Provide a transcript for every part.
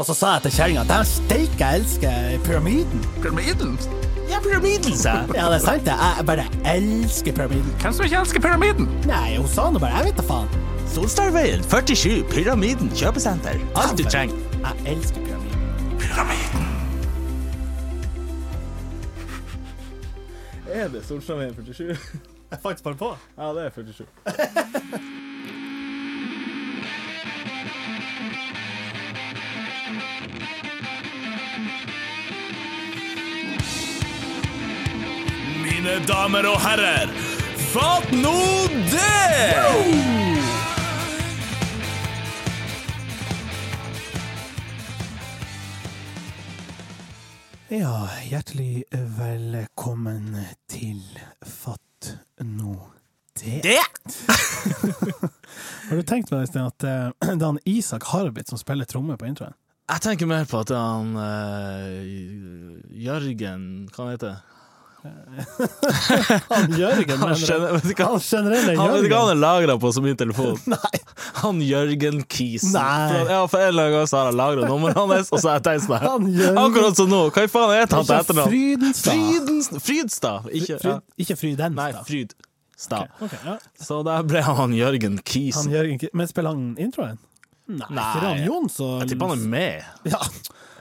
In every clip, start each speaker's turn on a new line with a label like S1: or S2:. S1: Og så sa jeg til kjerringa at steike, jeg elsker pyramiden.
S2: Pyramiden?
S1: Ja, pyramiden, sa jeg. Ja, det er sant, det. Jeg bare elsker pyramiden.
S2: Hvem som ikke elsker pyramiden?
S1: Nei, hun sa nå bare Jeg vet da faen.
S3: Solstadveien 47, Pyramiden kjøpesenter. Alt du trenger.
S1: Jeg elsker pyramiden.
S4: Er det Solstadveien 47?
S1: Jeg fant bare på.
S4: Ja, det er 47.
S2: Mine damer og herrer, fatt nå det!
S1: Ja, hjertelig velkommen til Fatt nå det. Har du tenkt på det, Sten, at eh, det er han Isak Harbit som spiller tromme på introen?
S3: Jeg tenker mer på at han eh, Jørgen Hva han heter
S1: Han Jørgen,
S3: han?
S1: mener
S3: skjønner- Vet du hva?
S1: Han generelle
S3: Han vet ikke hva
S1: Jørgen.
S3: han er lagra på som min telefon.
S1: Nei.
S3: Han Jørgen Kisen.
S1: Nei.
S3: For at- Ja, for en eller annen gang så har jeg lagra nummeret hans, og så har jeg tenkt sånn her.
S1: Han Jørgen-
S3: Akkurat som nå. Hva i faen heter han til
S1: Ikke
S3: etternavn?
S1: Frydenstad.
S3: Frydenstad. Frydstad. Ikke, ja.
S1: Fryd, ikke Frydenstad.
S3: Nei, Frydstad.
S1: Ok, ja.
S3: Så der ble han Jørgen
S1: han
S3: Kisen.
S1: Jørgen, Ki- men spiller han introen? Nei.
S3: Nei.
S1: Ikke han Jons og
S3: Jeg tipper han er med.
S1: Ja.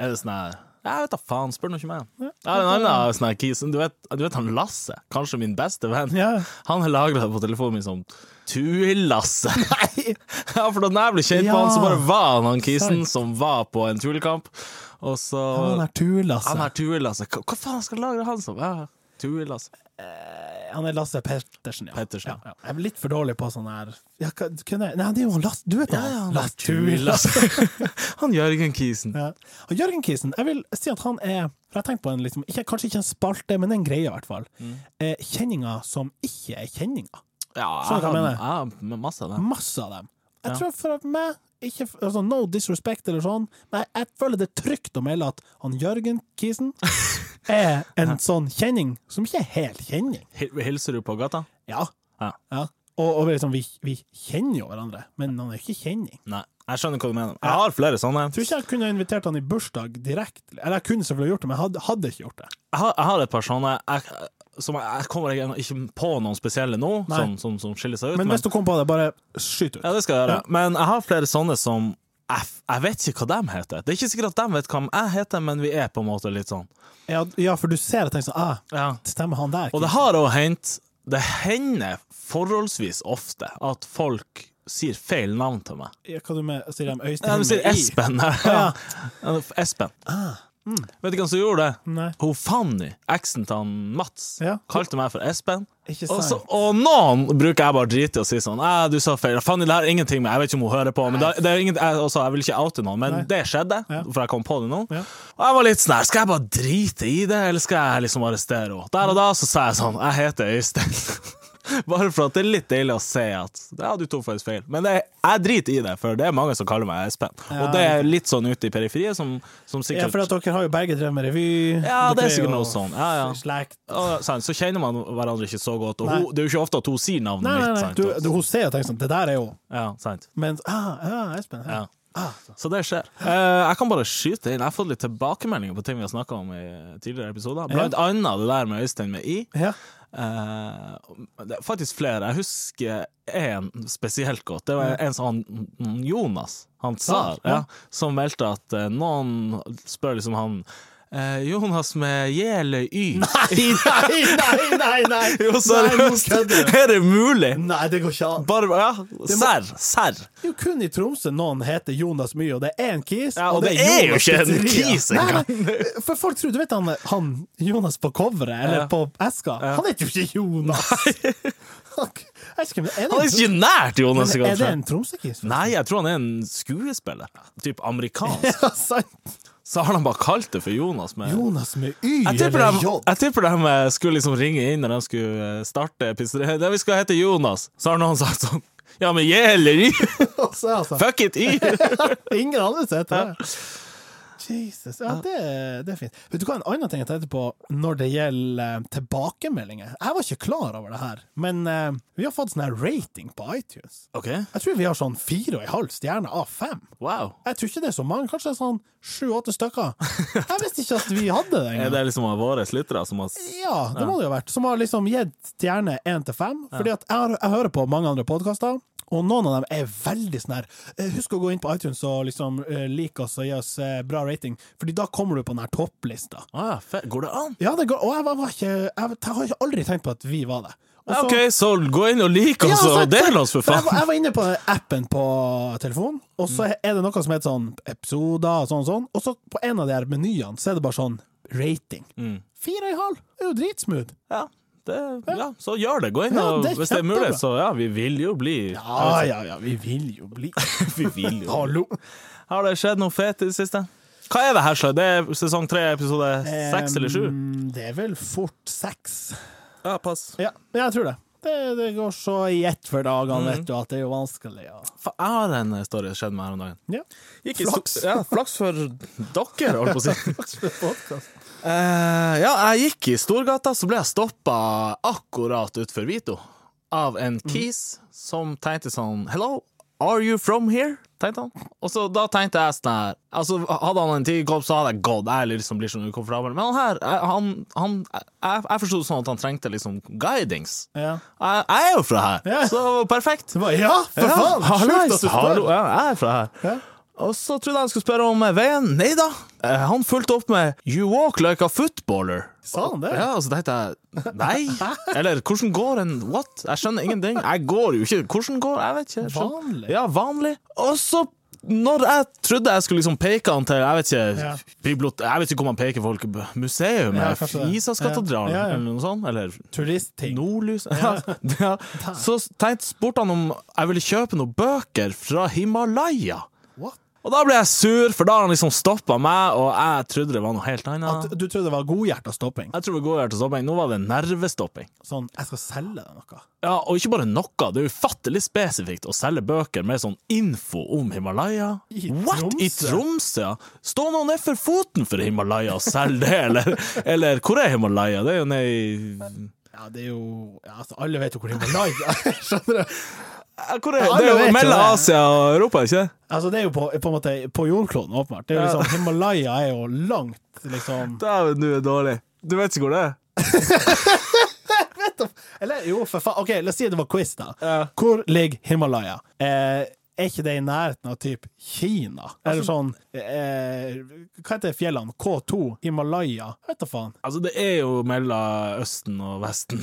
S3: Er det sånn her Jeg vet da faen, spør nå ikke meg. Jeg har en annen sånn her kis. Du vet, du vet han Lasse, kanskje min beste venn?
S1: ja.
S3: Han har lagra det på telefonen min som Tui-Lasse.
S1: Nei.
S3: ja, for da jeg ble kjent
S1: Ja.
S3: med han, så bare var han han kisen
S1: Sant.
S3: som var på en tulekamp. Og så
S1: Han er Tulasse.
S3: Han er Tui-Lasse. Hva, hva faen skal jeg lagre han som? Ja, Tui-Lasse.
S1: Han er Lasse Pettersen, ja.
S3: Pettersen,
S1: ja. Jeg er litt for dårlig på sånn her ja, hva- kunne jeg... Nei, det er jo han Lasse Du vet
S3: Ja, ja, han er
S1: Lasse Tulasse.
S3: han Jørgen Kisen.
S1: Ja. Og Jørgen Kisen, jeg vil si at han er for jeg har tenkt på en liksom, ikke, Kanskje ikke en spalte, men en greie, i hvert fall.
S3: Mm.
S1: Eh, kjenninger som ikke er kjenninger.
S3: Ja,
S1: Skjønner du hva jeg mener?
S3: Ja, med masse av det.
S1: Masse av dem. Jeg
S3: Ja.
S1: tror for meg ikke, altså, No disrespect eller sånn, men jeg, jeg føler det er trygt å melde at han Jørgen Kisen er en sånn kjenning som ikke er helt kjenning.
S3: Hil- Hilser du på gata?
S1: Ja.
S3: Ja.
S1: Og, og liksom, vi, vi kjenner jo hverandre, men han er ikke kjenning.
S3: Nei. Jeg skjønner hva du mener. Jeg har flere sånne.
S1: Jeg tror ikke jeg kunne ha invitert han i bursdag direkte. Eller jeg kunne selvfølgelig gjort det, men jeg hadde, hadde ikke gjort det.
S3: jeg har, jeg har et par sånne jeg, som jeg, jeg kommer ikke, ikke på noen spesielle nå,
S1: Nei.
S3: som, som, som skiller seg ut.
S1: Men
S3: Men,
S1: hvis du kom på det, bare skyt ut.
S3: ja, det skal jeg gjøre.
S1: Ja.
S3: Men jeg har flere sånne som jeg, f- jeg vet ikke hva de heter. Det er ikke sikkert at de vet hva jeg heter, men vi er på en måte litt sånn.
S1: Ja, ja, for du ser og tenker sånn ah, Stemmer han der?
S3: Og det har også hendt Det hender forholdsvis ofte at folk sier feil navn til meg.
S1: Ja, Hva du med, sier de
S3: Ja,
S1: Øystein?
S3: de sier
S1: med I?
S3: Espen. Ja. Ah, mm. Espen. Vet du hvem som gjorde det?
S1: Nei.
S3: Hun Fanny, eksen til han Mats,
S1: Ja.
S3: kalte meg for Espen.
S1: Ikke
S3: Og, så,
S1: sant?
S3: og noen bruker jeg bare drite i å si sånn «Æ, du sa feil. Fanny, det har ingenting med Jeg vet ikke om hun hører på. Men det, det er ingen, jeg, også, jeg vil ikke oute noen, men
S1: Nei.
S3: det skjedde.
S1: Ja.
S3: For jeg kom på det nå.
S1: Ja.
S3: Og jeg var litt sånn her Skal jeg bare drite i det, eller skal jeg liksom arrestere henne? Der og da så sa jeg sånn Jeg heter Øystein. bare for at det er litt deilig å se at Ja, du tok faktisk feil. Men det, jeg driter i det, for det er mange som kaller meg Espen.
S1: Ja,
S3: og det er litt sånn ute i periferiet som, som
S1: Ja,
S3: sikkert
S1: for at dere har jo begge drevet med revy.
S3: Ja, det er
S1: Dere
S3: sikkert
S1: jo
S3: noe sånn. Ja, ja.
S1: Slekt.
S3: Og sant, så kjenner man hverandre ikke så godt. Og
S1: Nei.
S3: hun, det er jo ikke ofte at hun sier navnet
S1: Nei, nei,
S3: mitt.
S1: nei.
S3: Sant?
S1: Du, du, hun ser og tenker sånn Det der er jo
S3: ja, sant.
S1: Men ah, ja, Espen. Ja.
S3: Ja.
S1: ah.
S3: Så det skjer. Eh, jeg kan bare skyte inn. Jeg har fått litt tilbakemeldinger på ting vi har snakka om i tidligere episoder. Blant annet det der med Øystein med I.
S1: Ja.
S3: Eh, det er faktisk flere. Jeg husker én spesielt godt. Det var en som han Jonas, han
S1: Sar,
S3: Sar, ja, som meldte at eh, noen spør liksom han eh, Jonas med J eller Y?
S1: Nei, nei, nei, nei! nei. Nei,
S3: Jo,
S1: nå
S3: seriøst!
S1: kødder du.
S3: Er det mulig?
S1: Nei, det går ikke an.
S3: Bare, ja, serr, serr.
S1: Det er jo kun i Tromsø noen heter Jonas Mye, og det er én kis.
S3: Ja, og det er jo
S1: Jonas
S3: ikke en
S1: Pizzeria.
S3: kis
S1: Nei,
S3: engang.
S1: nei, For folk tror Du vet han, han Jonas på coveret, eller
S3: Ja.
S1: på eska? Han heter jo ikke Jonas! Han- Jeg vet ikke, men er
S3: Han
S1: det
S3: er
S1: en,
S3: ikke nært Jonas
S1: Trom- men er det
S3: engang.
S1: en Tromsø-kis?
S3: Nei, jeg tror han er en skuespiller. Typ amerikansk.
S1: Ja, sant.
S3: Så har han bare kalt det for Jonas. Med.
S1: Jonas med Y
S3: Jeg tipper,
S1: eller
S3: de,
S1: J.
S3: jeg tipper de eh, skulle liksom ringe inn når de skulle eh, starte pizzeria. Det vi skal hete Jonas. Så har noen sagt sånn Ja, men J eller Y?
S1: Altså, altså.
S3: Fuck it, Y!
S1: Ingen andre som heter det. Jesus. Ja, det, det er fint. Vet du hva, en annen ting jeg tenkte på når det gjelder eh, tilbakemeldinger Jeg var ikke klar over det her, men eh, vi har fått sånn her rating på iTunes.
S3: OK.
S1: Jeg tror vi har sånn fire og en halv stjerne av fem.
S3: Wow.
S1: Jeg tror ikke det er så mange, kanskje sånn sju-åtte stykker. Jeg visste ikke at vi hadde det
S3: Er
S1: engang.
S3: det liksom av våre lyttere som har s-
S1: Ja, det må det jo ha vært. Som har liksom gitt stjerne én til fem. Fordi at jeg, har- jeg hører på mange andre podkaster, og noen av dem er veldig sånn her eh, Husk å gå inn på iTunes og liksom eh, like oss og gi oss eh, bra rating, Fordi da kommer du på den her topplista.
S3: ah, fe- Går det an?
S1: Ja, det går, og jeg, var, var ikke, jeg, jeg har ikke aldri tenkt på at vi var det. Og så-
S3: Ja, OK, så gå inn og lik oss
S1: altså,
S3: og del oss,
S1: jeg,
S3: for
S1: var-
S3: faen! Mm.
S1: jeg var inne på appen på telefonen, og så er det noe som heter sånn episoder og sånn, og sånn, og så på en av de her menyene så er det bare sånn rating.
S3: Mm.
S1: Fire og en halv! Det er jo dritsmooth.
S3: Ja, det, ja, så gjør det. Gå inn,
S1: Ja,
S3: og
S1: det er
S3: hvis det er
S1: kjempebra.
S3: mulig, så ja, vi vil jo bli
S1: Ja, Ah, ja, ja, vi vil jo bli
S3: Vi vil jo
S1: Hallo!
S3: Har det skjedd noe fett i det siste? Hva er det her, Sløy? Det er sesong tre, episode seks eller sju?
S1: Em, Det er vel fort seks.
S3: Ja, pass.
S1: Ja, men jeg tror det. Det, det går så i ett for
S3: Mhm.
S1: dagene, vet du, at det er jo vanskelig. Ja.
S3: Fa jeg har en story skjedd meg her om dagen.
S1: Ja.
S3: Gikk flaks. ja, flaks for dere, holdt på å si.
S1: Podcast.
S3: Eh, ja, jeg gikk i Storgata, så ble jeg stoppa akkurat utenfor Vito av en kis som tenkte sånn Hello, are you from here? tenkte han. Og så da tenkte jeg sånn her Altså, Hadde han en tigerkopp, så hadde jeg gått. Jeg liksom blir sånn ukomfortabel. Men han her, eh, han, han Jeg, jeg forsto det sånn at han trengte liksom guidings.
S1: Ja.
S3: Jeg, jeg er jo fra her,
S1: Ja.
S3: så det var perfekt.
S1: Det var, ja, for
S3: Ja,
S1: faen!
S3: hallo,
S1: sjukt at du spør.
S3: hallo, ja, jeg er fra her.
S1: Ja.
S3: Og så trodde jeg han skulle spørre om eh, veien. Nei da. Eh, Han fulgte opp med 'You walk like a footballer'.
S1: Sa han det?
S3: Ja, og så tenkte jeg nei. Eller hvordan går en what? Jeg skjønner ingenting. Jeg går jo ikke Hvordan går Jeg vet ikke. Jeg skjønner-
S1: Vanlig.
S3: Ja, vanlig. Og så når jeg trodde jeg skulle liksom peke han til Jeg vet ikke
S1: Ja.
S3: bibliot- Jeg vet ikke hvor man peker folk. Museum?
S1: Ja,
S3: Ja,
S1: kanskje det.
S3: Isaskatedralen?
S1: Ja, ja, ja.
S3: Eller noe sånt? Eller
S1: Turistting.
S3: Nordlys ja. ja. Så tenkte, spurte han om jeg ville kjøpe noen bøker fra Himalaya.
S1: What?
S3: Og da ble jeg sur, for da har han liksom stoppa meg, og jeg trodde det var noe helt annet.
S1: At du trodde det var godhjerta stopping?
S3: Jeg tror det går her til stopping. Nå var det nervestopping.
S1: Sånn, jeg skal selge deg noe.
S3: Ja, Og ikke bare noe, det er ufattelig spesifikt å selge bøker med sånn info om Himalaya.
S1: I
S3: What? I
S1: Tromsø?
S3: Tromsø? ja. Stå nå ned for foten for Himalaya og selg det, eller, eller hvor er Himalaya? Det er jo nede i
S1: Ja, det er jo ja, altså, Alle vet jo hvor Himalaya er, skjønner du?
S3: Ja, Hvor er,
S1: Ja, alle
S3: det er
S1: vet jo
S3: jo mellom
S1: det.
S3: Asia og Europa, ikke det?
S1: Altså, det er jo på, på en måte på jordkloden, åpenbart. Det er jo liksom, Himalaya er jo langt, liksom
S3: Dæven, du er dårlig. Du vet ikke hvor det er?
S1: Eller jo, for faen. OK, la oss si det var quiz, da. Hvor ligger Himalaya? Eh, er ikke det i nærheten av typ Kina?
S3: Altså-
S1: Eller sånn eh, Hva heter fjellene? K2? Himalaya? Vet da faen.
S3: Altså, det er jo mellom Østen og Vesten.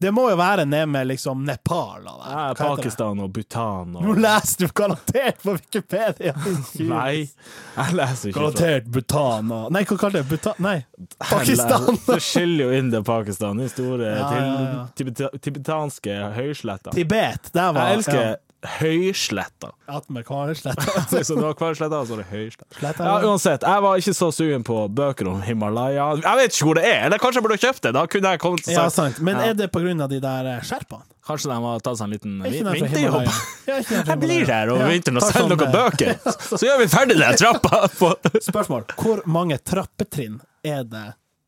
S1: Det må jo være ned med liksom Nepal og der.
S3: Ja,
S1: Hva heter det?
S3: Pakistan og Bhutan
S1: Nå
S3: og
S1: leser du garantert på Wikipedia!
S3: Nei, jeg leser ikke fra
S1: Garantert Bhutan og Nei, hva kalte jeg Bhutan? Nei, Pakistan!
S3: Det skiller jo inn det Pakistan, de store
S1: Ja, ja,
S3: til- tibeta- tibetanske høyslettene.
S1: Tibet, der var
S3: Jeg elsker høysletter.
S1: ja, Atmer Karslett.
S3: Så det var Kvarsletta, og så var det høyslett.
S1: Slett,
S3: Ja,
S1: eller?
S3: uansett, jeg var ikke så sugen på bøker om Himalaya. Jeg vet ikke hvor det er, eller kanskje jeg burde kjøpt det? Da kunne jeg kommet til
S1: ja,
S3: å sagt
S1: sant. Men er det på grunn av de der eh, skjerpene?
S3: Kanskje de har tatt seg en liten
S1: Er ikke
S3: vin-
S1: den fra
S3: vinterjobb?
S1: Himalaya? Ja, ikke den fra
S3: Jeg blir
S1: Himalaya.
S3: her over
S1: Ja,
S3: vinteren og
S1: tar
S3: selger
S1: sånn,
S3: noen
S1: eh,
S3: bøker, så gjør vi ferdig den trappa! På.
S1: Spørsmål. Hvor mange trappetrinn er det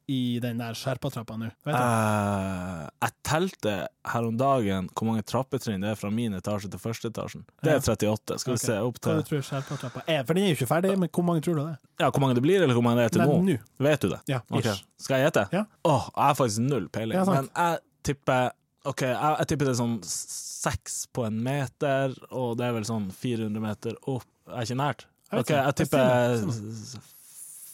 S1: i den der skjerpatrappa nå? Vet du?
S3: Eh, jeg telte her om dagen hvor mange trappetrinn det er fra min etasje til første etasjen. Det er 38. Skal vi se opp
S1: Hva
S3: til
S1: du tror skjerpatrappa er? For den er jo ikke ferdig, men hvor mange tror du det er?
S3: Ja, Hvor mange det blir, eller hvor mange det er til
S1: Nei, nå.
S3: nå? Vet du det?
S1: Ja,
S3: Ok.
S1: ish.
S3: Skal jeg gjette?
S1: Ja.
S3: Åh, jeg har faktisk null peiling,
S1: Ja, sant.
S3: men jeg tipper Ok, jeg, jeg tipper det er sånn seks på en meter, og det er vel sånn 400 meter opp. Jeg er ikke nært.
S1: Jeg vet
S3: Ok,
S1: ikke.
S3: jeg
S1: Jeg
S3: tipper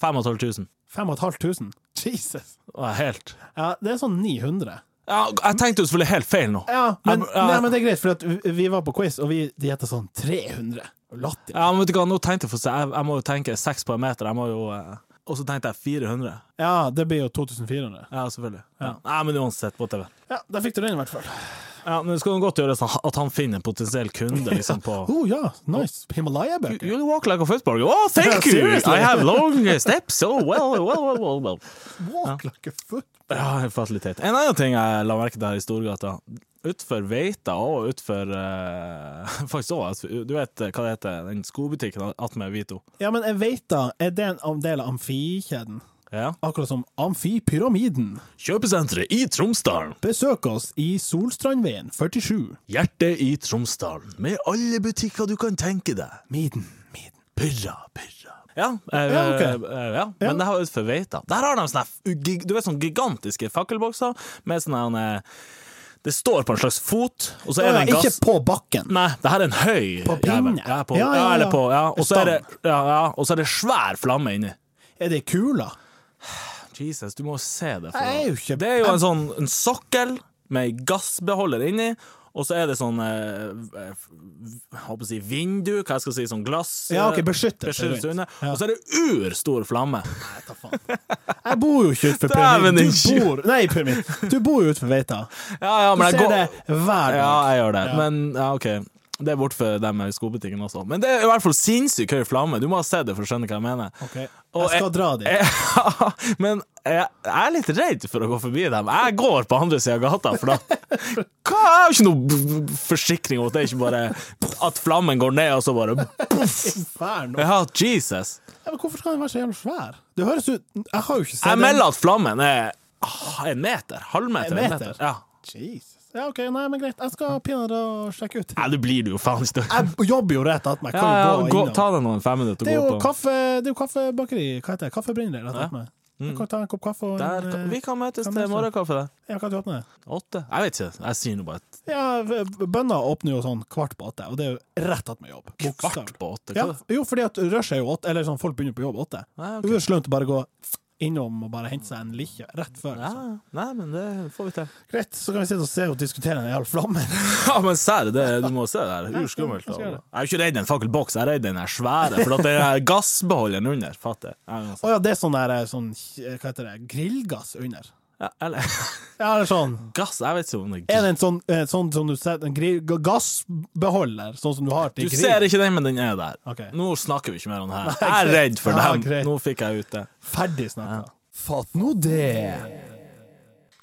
S3: 25 000.
S1: 5500? Jesus!
S3: Og jeg er helt
S1: Ja, det er sånn 900.
S3: Ja, jeg tenkte jo selvfølgelig helt feil nå.
S1: Ja, men,
S3: Ja,
S1: Nei, men det er greit, for at vi- vi var på quiz, og vi de gjetta sånn 300. Og Latter.
S3: Ja, men vet du hva, nå tenkte jeg for seg, jeg, jeg må jo tenke seks på en meter, jeg må jo eh, Og så tenkte jeg 400.
S1: Ja, det blir jo 2400.
S3: Ja, selvfølgelig. Ja. Nei, men uansett, whatever.
S1: Ja, da fikk du den, i hvert fall.
S3: Ja, men det skal jo godt gjøres at han finner en potensiell kunde, liksom, på
S1: Oh ja, nice. Himalaya-bøker.
S3: You walk like a footballer. Oh, thank you!
S1: Seriously?
S3: I have long steps. Oh, well, well, well, well, well.
S1: Walk like a foot.
S3: Ja, en fatalitet. En annen ting jeg la merke til her i Storgata, utfor Veita og utfor eh, Faktisk òg, du vet eh, hva det heter, den skobutikken attmed Vito.
S1: Ja, men jeg vet da, er det en del av amfikjeden?
S3: Ja.
S1: Akkurat som Amfipyramiden.
S3: Kjøpesenteret i Tromsdalen.
S1: Besøk oss i Solstrandveien 47.
S3: Hjertet i Tromsdalen, med alle butikker du kan tenke deg.
S1: Miden, miden.
S3: Pyrra, pyrra. Ja, eh,
S1: Ja, ok.
S3: eh, ja. men det her var utenfor Veita. Der har de sånne, gig- du vet, sånne gigantiske fakkelbokser med sånne eh, Det står på en slags fot, og så er det en gass...
S1: Ikke på bakken.
S3: Nei, det her er en høy
S1: På pinne.
S3: jævel. Ja, på, ja,
S1: Ja, ja, ja.
S3: eller på, ja. Og så er det,
S1: Stang.
S3: ja, ja. og så er det svær flamme inni.
S1: Er det kula?
S3: Jesus, du må jo se det. for
S1: Jeg er
S3: noe.
S1: jo ikke-
S3: Det er jo en sånn en sokkel med ei gassbeholder inni, og så er det sånn eh, eh, Jeg håper å si vindu, hva jeg skal si, sånn glass
S1: Ja,
S3: eh,
S1: ok, beskyttelse rundt.
S3: under.
S1: Ja.
S3: Og så er det urstor flamme.
S1: Ta faen. Jeg bor jo ikke utenfor
S3: Dæven,
S1: pyramiden.
S3: ikke.
S1: Du bor Nei, pyramiden. Du bor jo utenfor Veita.
S3: Ja, ja,
S1: Du
S3: men jeg
S1: ser
S3: går
S1: det hver
S3: Ja,
S1: dag.
S3: jeg gjør det.
S1: Ja.
S3: Men ja, OK. Det er bortfor dem i skobutikken også. Men det er i hvert fall sinnssykt høy flamme. Du må ha sett det for å skjønne hva jeg mener.
S1: Ok,
S3: Og
S1: Jeg skal
S3: jeg-
S1: dra dit.
S3: Ja, men jeg, jeg er litt redd for å gå forbi dem. Jeg går på andre sida av gata, for da Hva? Jeg har jo ikke noe b- b- forsikring mot det. Ikke bare at flammen går ned, og så bare
S1: Inferno.
S3: Ja, Jesus.
S1: Ja, men hvorfor skal den være så jævlig svær? Det høres ut Jeg har jo ikke sett
S3: Jeg
S1: den.
S3: melder at flammen er ah, en meter. Halvmeter.
S1: En
S3: En
S1: meter?
S3: meter. Ja.
S1: Jesus. Ja, OK, nei, men greit. Jeg skal pinadø sjekke ut.
S3: Nei, det blir det jo faen ikke.
S1: Jeg jobber jo rett attmed.
S3: Ja,
S1: Kan
S3: ja,
S1: jo gå
S3: gå,
S1: innom.
S3: ta deg noen fem minutter
S1: Det er
S3: og
S1: jo
S3: gå på.
S1: kaffe, det er jo kaffebakeri. Hva heter det? Kaffebrenner. Rett og slett. Jeg kan ta en kopp kaffe og en,
S3: Mm. Der,
S1: eh,
S3: vi kan møtes
S1: kan
S3: til
S1: vi-
S3: morgenkaffe. der.
S1: Ja, kan du åpne det?
S3: Åtte? Jeg vet ikke. Jeg sier nå bare et
S1: Ja, v- Bønner åpner jo sånn kvart på åtte, og det er jo rett attmed jobb.
S3: kvart
S1: Bokstavelig.
S3: på åtte.
S1: Ja,
S3: Hva?
S1: f- jo, fordi at rush er jo åtte, eller sånn folk begynner på jobb åtte.
S3: Nei, Ah, ok.
S1: Det er jo slemt å bare gå innom og bare hente seg en likje rett før.
S3: Ja,
S1: liksom.
S3: nei, men det får vi til.
S1: Greit, så kan vi sitte og se og diskutere en jævla flamme.
S3: Ja, men serr, det- du må se det her. Det er Urskummelt.
S1: jeg skal gjøre
S3: Jeg
S1: det.
S3: er jo ikke redd en fakkelboks, jeg er redd den her svære, for at det er gassbeholderen under. Fatter. Ja, altså. uansett.
S1: Å ja, det er sånn der eh, sånn, eh, hva heter det, grillgass under.
S3: Ja, eller
S1: Ja, eller sånn.
S3: gass, jeg vet ikke om det
S1: Er
S3: er
S1: det en sånn, eh, sånn som du setter en grill, ga- gassbeholder, sånn som du har til
S3: Du
S1: grill?
S3: ser ikke den, men den er der.
S1: Ok.
S3: Nå snakker vi ikke mer om det her.
S1: Nei, greit.
S3: Jeg er redd for
S1: Ja,
S3: dem.
S1: greit.
S3: Nå fikk jeg ut det.
S1: Ferdig snakka. Fatt nå det!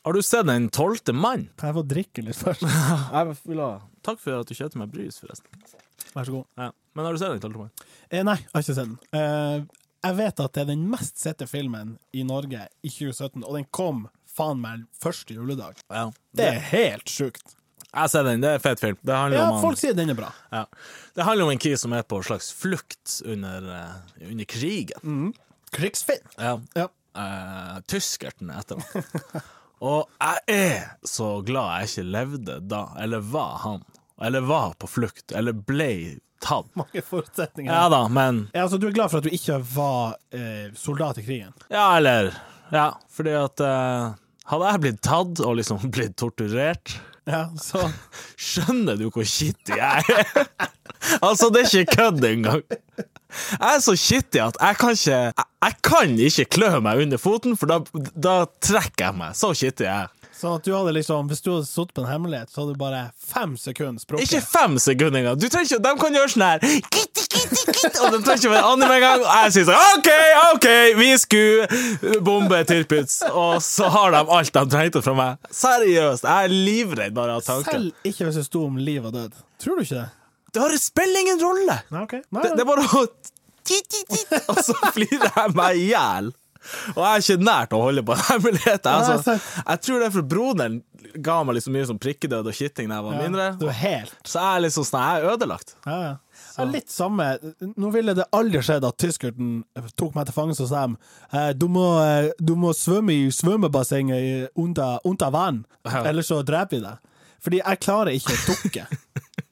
S3: Har du sett Den tolvte mann?
S1: Kan jeg få drikke litt først?
S4: Jeg vil ha
S3: Takk for at du kjøpte meg brys, forresten.
S1: Vær så god.
S3: Ja. Men har du sett Den tolvte mann?
S1: Eh, nei, jeg har ikke sett den. Eh, jeg vet at det er den mest sette filmen i Norge i 2017, og den kom faen meg første juledag.
S3: Ja.
S1: Det er helt sjukt.
S3: Jeg har sett den, det er en fet film. Det handler
S1: Ja,
S3: om han-
S1: folk sier den er bra.
S3: Ja. Det handler om en kis som er på en slags flukt under, eh, under krigen.
S1: Mm. Krigsfilm.
S3: Ja.
S1: Ja.
S3: eh, tyskerten etter ham. Og jeg er så glad jeg ikke levde da, eller var han, eller var på flukt, eller ble tatt.
S1: Mange forutsetninger.
S3: Ja da, men
S1: Ja, altså, du er glad for at du ikke var eh, soldat i krigen?
S3: Ja, eller Ja, fordi at eh, Hadde jeg blitt tatt og liksom blitt torturert
S1: Ja, så
S3: Skjønner du hvor kittig jeg er? altså, det er ikke kødd engang. Jeg er så kittig at jeg kan ikke Jeg, jeg kan ikke klø meg under foten, for da, da trekker jeg meg. Så kittig er jeg.
S1: Sånn at du hadde liksom, Hvis du hadde sittet på en hemmelighet, så hadde du bare fem sekunder språket.
S3: Ikke fem sekunder engang. Du trenger ikke, de kan gjøre sånn her kitt, kitt, kitt, Og de trenger ikke være andre med en gang. Og jeg sier sånn OK, OK, vi skulle bombe Tirpitz. Og så har de alt de trengte fra meg. Seriøst, jeg er livredd bare av tanken.
S1: Selv ikke hvis det sto om liv og død. Tror du ikke det?
S3: Det har- spiller ingen rolle!
S1: Nei, ok. Nei,
S3: Det, det er bare å titt, titt, titt, Og så flirer jeg meg i hjel. Og jeg er ikke nær til å holde på en hemmelighet. Altså, jeg tror det er for broderen ga meg liksom mye sånn prikkedød og kitting da jeg var
S1: Du
S3: mindre.
S1: er helt
S3: Så jeg er liksom sånn, jeg er ødelagt.
S1: Ja, ja. Ja, litt samme. Nå ville det aldri skjedd at tyskerten tok meg til fange og sa eh, du, må, eh, du må svømme i svømmebassenget i under, under vann,
S3: Ja.
S1: ellers så dreper vi deg. Fordi jeg klarer ikke å dukke.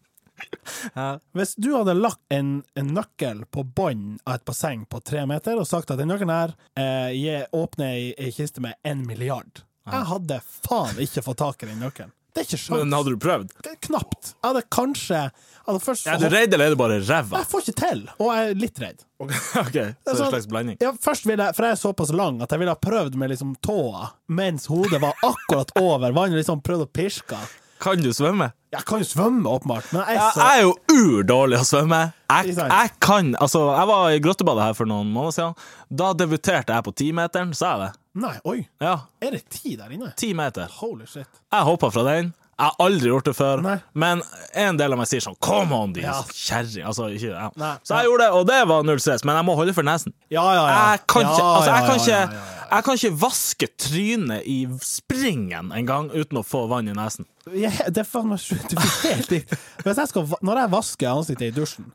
S3: Ja.
S1: Hvis du hadde lagt en, en nøkkel på bånn av et basseng på tre meter og sagt at den nøkkelen her eh, jeg åpner ei, ei kiste med én milliard Jeg hadde faen ikke fått tak i den nøkkelen. Det er ikke
S3: Men
S1: sjans.
S3: hadde du prøvd?
S1: Knapt. Jeg hadde kanskje jeg hadde først
S3: Er du redd, eller er du bare ræva? Altså-
S1: Jeg får ikke til, og jeg er litt redd. Altså,
S3: Ok, så det er en slags blanding.
S1: Ja, først ville jeg, For jeg er såpass lang at jeg ville ha prøvd med liksom tåa mens hodet var akkurat over vannet. liksom prøvd å pirke.
S3: Kan du svømme?
S1: Jeg kan jo svømme, åpenbart, men jeg
S3: Jeg,
S1: er så
S3: jeg er jo urdårlig å svømme. Jeg,
S1: Ikke sant?
S3: jeg kan Altså, jeg var i grottebadet her for noen måneder siden. Da debuterte jeg på timeteren, sa jeg det.
S1: Nei, oi.
S3: Ja,
S1: Er det ti der inne?
S3: ti meter.
S1: Holy shit.
S3: Jeg hoppa fra den. Jeg har aldri gjort det før,
S1: Nei.
S3: men en del av meg sier sånn Come on, din
S1: Ja.
S3: kjerring! Altså, ikke ja.
S1: Nei.
S3: Så jeg gjorde det, og det var null stress, men jeg må holde for nesen.
S1: Ja, ja, ja.
S3: Jeg kan ikke,
S1: Ja,
S3: altså, jeg
S1: ja,
S3: kan
S1: ja, ja,
S3: ikke,
S1: ja,
S3: jeg kan ikke vaske trynet i springen en gang uten å få vann i nesen.
S1: ja. Jeg- Det er faen meg sjukt. Du fikk helt i. Hvis jeg skal va- Når jeg vasker ansiktet i dusjen,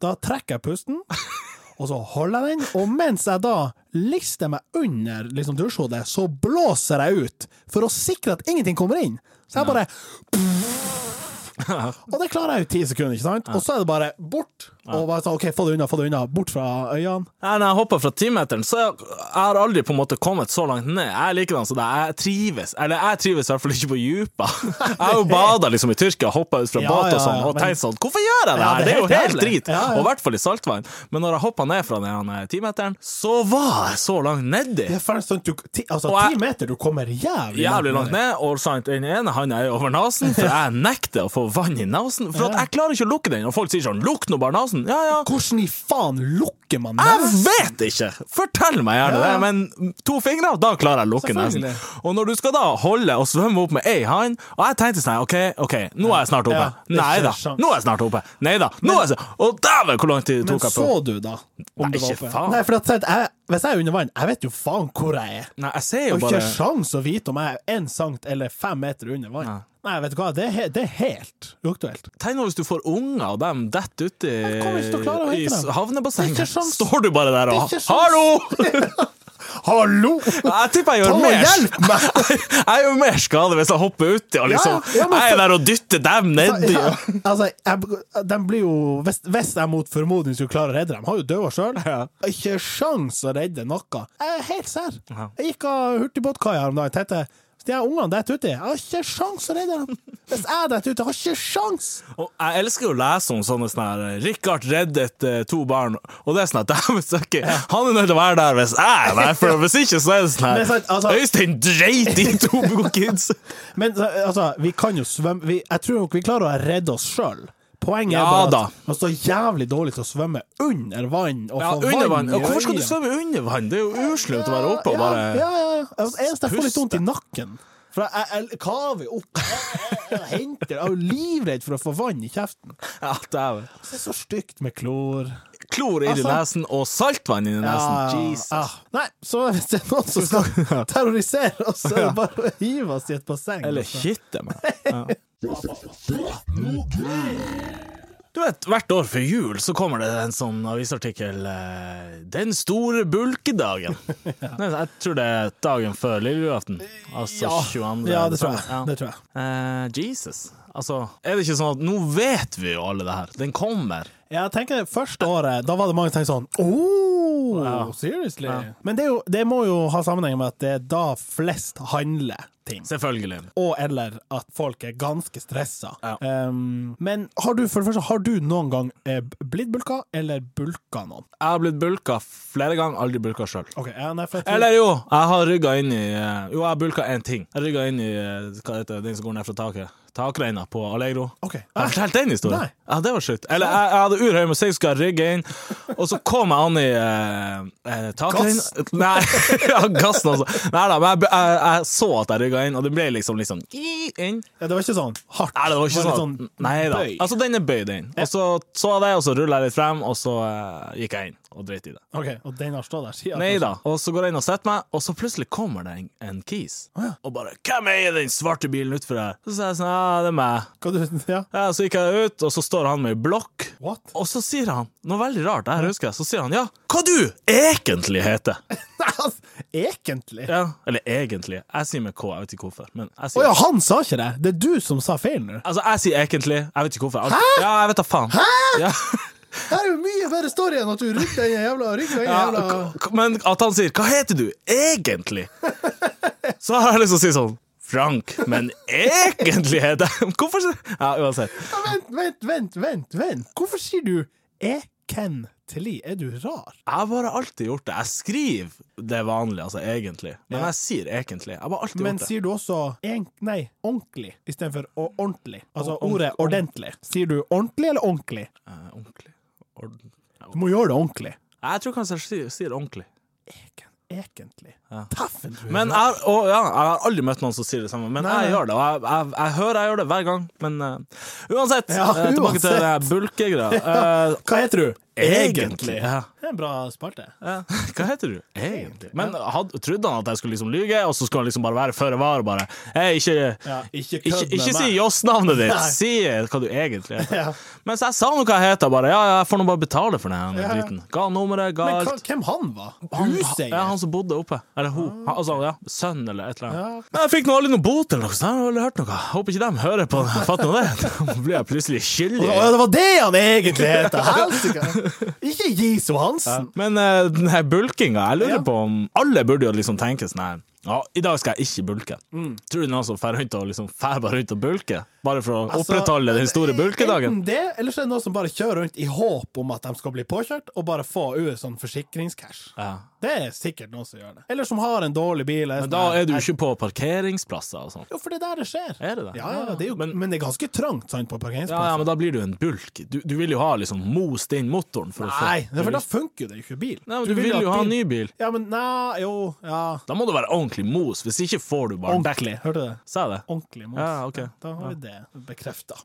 S1: da trekker jeg pusten, og så holder jeg den, og mens jeg da lister meg under liksom, dusjhodet, så blåser jeg ut for å sikre at ingenting kommer inn. Så jeg bare Og det klarer jeg jo i ti sekunder, ikke sant? Og så er det bare bort. Og bare sånn, OK, få det unna, få det unna. Bort fra øynene.
S3: Nei, Når jeg hopper fra timeteren, så jeg, jeg har aldri på en måte kommet så langt ned. Jeg er likedan som deg. Jeg trives. Eller jeg trives i hvert fall ikke på dypa. Jeg har jo bada liksom i Tyrkia, hoppa ut fra
S1: Ja,
S3: båt
S1: ja,
S3: og sånn,
S1: ja,
S3: og
S1: men-
S3: tenkt sånn Hvorfor gjør jeg det
S1: Ja,
S3: her? Det er jo helt
S1: jævlig.
S3: drit.
S1: Ja, ja.
S3: Og i hvert fall i saltvann. Men når jeg hoppa ned fra den her timeteren, så var jeg så langt nedi.
S1: Det er ferdig sånn at du ti, Altså,
S3: Og jeg-
S1: ti meter, du kommer jævlig,
S3: Jævlig langt ned, og sant, den ene handa er over nesen, for jeg nekter å få vann i nesen. For at jeg klarer ikke å lukke den, og folk sier sånn 'lukk nå bare nesen'. Ja, ja.
S1: Hvordan i faen lukker man
S3: Jeg
S1: nesen?
S3: vet ikke! Fortell meg gjerne
S1: Ja.
S3: det, men to fingre, da klarer jeg å lukke nesen.
S1: Selvfølgelig.
S3: Og når du skal da holde og svømme opp med ei hand, og jeg tenkte sånn OK, ok, nå er jeg snart oppe.
S1: Ja, det er
S3: Nei da,
S1: ikke sjans.
S3: nå er jeg snart oppe. Nei da, nå er jeg så- Og dæven, hvor lang tid det
S1: Men
S3: tok jeg på
S1: så du, da? Om
S3: Nei,
S1: du var
S3: ikke
S1: oppe?
S3: faen.
S1: Nei, for at, sant, jeg, hvis jeg er under vann, jeg vet jo faen hvor jeg er.
S3: Nei, jeg ser jo
S1: Og ikke
S3: bare
S1: sjans å vite om jeg er én sankt eller fem meter under vann. Nei, vet du hva, det er, he- det er helt uaktuelt.
S3: Tenk nå hvis du får unger, og dem detter uti
S1: Jeg kommer ikke til å klare å
S3: i
S1: hente dem.
S3: havnebassenget.
S1: Det er ikke sjans.
S3: Står du bare der og
S1: Det er ikke sjans.
S3: Hallo!
S1: Hallo!
S3: Jeg tipper jeg gjør
S1: Ta og
S3: mer
S1: hjelp
S3: Jeg jeg gjør mer skade hvis jeg hopper uti og liksom
S1: Ja, ja, men
S3: Jeg er
S1: for-
S3: der og dytter dem nedi.
S1: Ja, altså, jeg, de blir jo Hvis, hvis jeg mot formodning skulle klare å redde dem, har jo dødd sjøl.
S3: Ja.
S1: Ikke sjans å redde noe. Jeg er helt sær.
S3: Ja.
S1: Jeg gikk av hurtigbåtkaia her om dagen og tenkte hvis de her ungene detter uti, jeg har ikke sjans å redde dem. Hvis jeg detter uti, jeg har ikke sjans.
S3: Og jeg elsker jo å lese om sånne sånne her Richard reddet eh, to barn, og det er sånn at dæven søkker, han er nødt til å være der hvis jeg er der, for hvis ikke så er det sånn
S1: Men
S3: her
S1: sant, altså-
S3: Øystein dreit i to kids!
S1: Men så, altså, vi kan jo svømme vi, Jeg tror nok vi klarer å redde oss sjøl. Poenget
S3: Ja,
S1: er bare
S3: da.
S1: at man står jævlig dårlig til å svømme under vann. Og
S3: Ja,
S1: få
S3: under vann.
S1: i
S3: Og hvorfor skal du
S1: øynene.
S3: svømme under vann? Det er jo uslumt å være oppe og
S1: ja,
S3: bare
S1: ja, ja, ja. Altså, eneste jeg får litt
S3: puste.
S1: vondt i nakken. For jeg, jeg, jeg kaver jo opp. Jeg, jeg, jeg henter Jeg er jo livredd for å få vann i kjeften.
S3: Ja, dæven.
S1: Det er så stygt med klor.
S3: Klor inn i
S1: Altså-
S3: nesen og saltvann inn i nesen. Jesus.
S1: Ah. Nei, så hvis det er noen som skal terrorisere oss, så er det bare å hive oss i et basseng.
S3: Eller
S1: altså.
S3: kitte meg. Ja. Du vet, Hvert år før jul så kommer det en sånn avisartikkel eh, 'Den store bulkedagen'. Nei, Jeg tror det er dagen før lille julaften. Altså 22.
S1: ja, det tror jeg.
S3: Ja.
S1: Det tror jeg.
S3: Eh, Jesus. Altså, er det ikke sånn at nå vet vi jo alle det her? Den kommer.
S1: Jeg tenker det første året, da var det mange som tenkte sånn Oh, seriously? Men det, er jo, det må jo ha sammenheng med at det er da flest handler ting.
S3: Selvfølgelig.
S1: Og eller at folk er ganske stressa.
S3: Ja.
S1: Um, men har du, for det første, har du noen gang eh, blitt bulka, eller bulka noen?
S3: Jeg har blitt bulka flere ganger, aldri bulka sjøl.
S1: Ok, ja, nei, for jeg tror-
S3: Eller jo, jeg har rygga inn i eh, Jo, jeg bulka én ting. Jeg rygga inn i eh, hva heter det, den som går ned fra taket. Takreina på Allegro.
S1: Ok.
S3: Jeg har fortalt den historien.
S1: Nei.
S3: Ja, det var sjukt. Eller jeg, jeg hadde urhøy musikk, skulle jeg rygge inn, og så kom jeg an i eh, eh, takreina
S1: Gass?
S3: Nei, ja, gassen også. Nei da, men jeg, jeg, jeg så at jeg rygga inn, og det ble liksom litt sånn i- inn.
S1: ja, det var ikke sånn hardt.
S3: Nei, det var ikke
S1: litt
S3: sånn. Nei da.
S1: bøy.
S3: Altså, den er bøyd inn. Og så så jeg det, og så rulla jeg litt frem, og så eh, gikk jeg inn og dreit i det.
S1: Ok, Og den har stått der siden?
S3: Nei da. Og så går jeg inn og setter meg, og så plutselig kommer det en, en kis. Og bare 'Hvem eier den svarte bilen utenfor her?' Så sier jeg sånn 'Ja, det er meg'.
S1: Hva du, ja.
S3: Ja, så gikk jeg ut, og så står han med ei blokk.
S1: What?
S3: Og så sier han noe veldig rart, det her husker jeg. Så sier han 'Ja, hva du egentlig heter?'
S1: Nei, altså, egentlig? Å
S3: Ja, Eller 'egentlig'. Jeg sier med K, jeg vet ikke hvorfor. Men jeg sier
S1: ja, han sa ikke det! Det er du som sa feil nå.
S3: Altså, jeg sier 'egentlig'. Jeg vet ikke hvorfor. Hæ? Ja, jeg vet da faen. Ja.
S1: Her er jo mye bedre story enn at du rygger den jævla ryggen.
S3: Ja, k- k- men at han sier 'Hva heter du egentlig?' Så har jeg lyst til å si sånn Frank, men egentlig heter jeg Hvorfor sier- Ja, uansett.
S1: Vent, vent, vent, vent, vent. Hvorfor sier du ekentlig? Er du rar?
S3: Jeg har bare alltid gjort det. Jeg skriver det vanlige, altså egentlig, men
S1: Ja.
S3: jeg sier egentlig. Jeg har bare alltid
S1: Men
S3: gjort det.
S1: sier du også en, nei, ordentlig istedenfor å- ordentlig? Altså
S3: Å- ordentlig.
S1: ordet ordentlig. Sier du ordentlig eller ordentlig?
S3: Eh, ordentlig. Ord-
S1: Du må gjøre det ordentlig.
S3: Jeg tror kanskje jeg sier, sier ordentlig.
S1: egentlig.
S3: Ja.
S1: Taffen, tror jeg.
S3: Men jeg, og ja, jeg har aldri møtt noen som sier det samme, men
S1: Nei,
S3: jeg
S1: nei.
S3: gjør det. Og jeg, jeg, jeg hører jeg gjør det hver gang, men eh, uansett.
S1: Ja,
S3: eh, tilbake til det bulkegreia. Eh,
S1: Hva heter du? Egentlig.
S3: Ja.
S1: Det er en bra spalte.
S3: Ja. Hva heter du? Egentlig. Men had, trodde han at jeg skulle liksom lyge, og så skulle han liksom bare være føre var? og Bare. Hey, ikke,
S1: Ja, ikke kødd
S3: ikke,
S1: med
S3: ikke
S1: meg.
S3: si Joss-navnet ditt,
S1: Nei.
S3: si eh, hva du egentlig heter.
S1: Ja.
S3: Mens jeg sa nå hva jeg heter, bare. Ja, ja, jeg får nå bare betale for den
S1: Ja, ja.
S3: driten. Ga nummeret, ga
S1: Men hva,
S3: alt.
S1: hvem han var?
S3: Han,
S1: Huseier?
S3: ja, han som bodde oppe. Eller hun. Han, altså, ja, sønn eller et eller
S1: Ja.
S3: annet. Men jeg fikk nå aldri noen bot eller noe sånt. Jeg har aldri hørt noe. Håper ikke de hører på den. Fatt nå det. Da blir jeg plutselig skyldig.
S1: Å, det var det han egentlig het! Helsike! Ikke Jiso Hansen!
S3: Men eh, den her bulkinga, jeg lurer
S1: Ja.
S3: på om alle burde jo liksom tenke sånn her ja, I dag skal jeg ikke bulke. Tror du noen som drar rundt og liksom fær bare rundt og bulker? Bare for å
S1: Altså,
S3: opprettholde den store bulkedagen?
S1: Enten det, eller så er det noen som bare kjører rundt i håp om at de skal bli påkjørt, og bare få ut sånn forsikringscash.
S3: Ja.
S1: Det er sikkert noen som gjør det. Eller som har en dårlig bil.
S3: Men da er du jo ikke på parkeringsplasser og sånn.
S1: Jo, for det er der det skjer.
S3: Er det det?
S1: Ja, ja, det er jo, men,
S3: Men-
S1: det er ganske trangt sant, på
S3: Ja, ja,
S1: parkeringsplassen.
S3: men da blir du en bulk. Du, du vil jo ha liksom most inn motoren for å få
S1: Nei, det er for da funker jo det ikke bil.
S3: Nei, men du, vil jo ha en ny bil.
S1: Ja, men nei, jo, ja.
S3: Da må du være ordentlig mos, hvis ikke får du bare
S1: Ordentlig, hørte du det?
S3: Sa jeg det?
S1: Ordentlig mos.
S3: Ja, ok.
S1: Da har vi det bekrefta.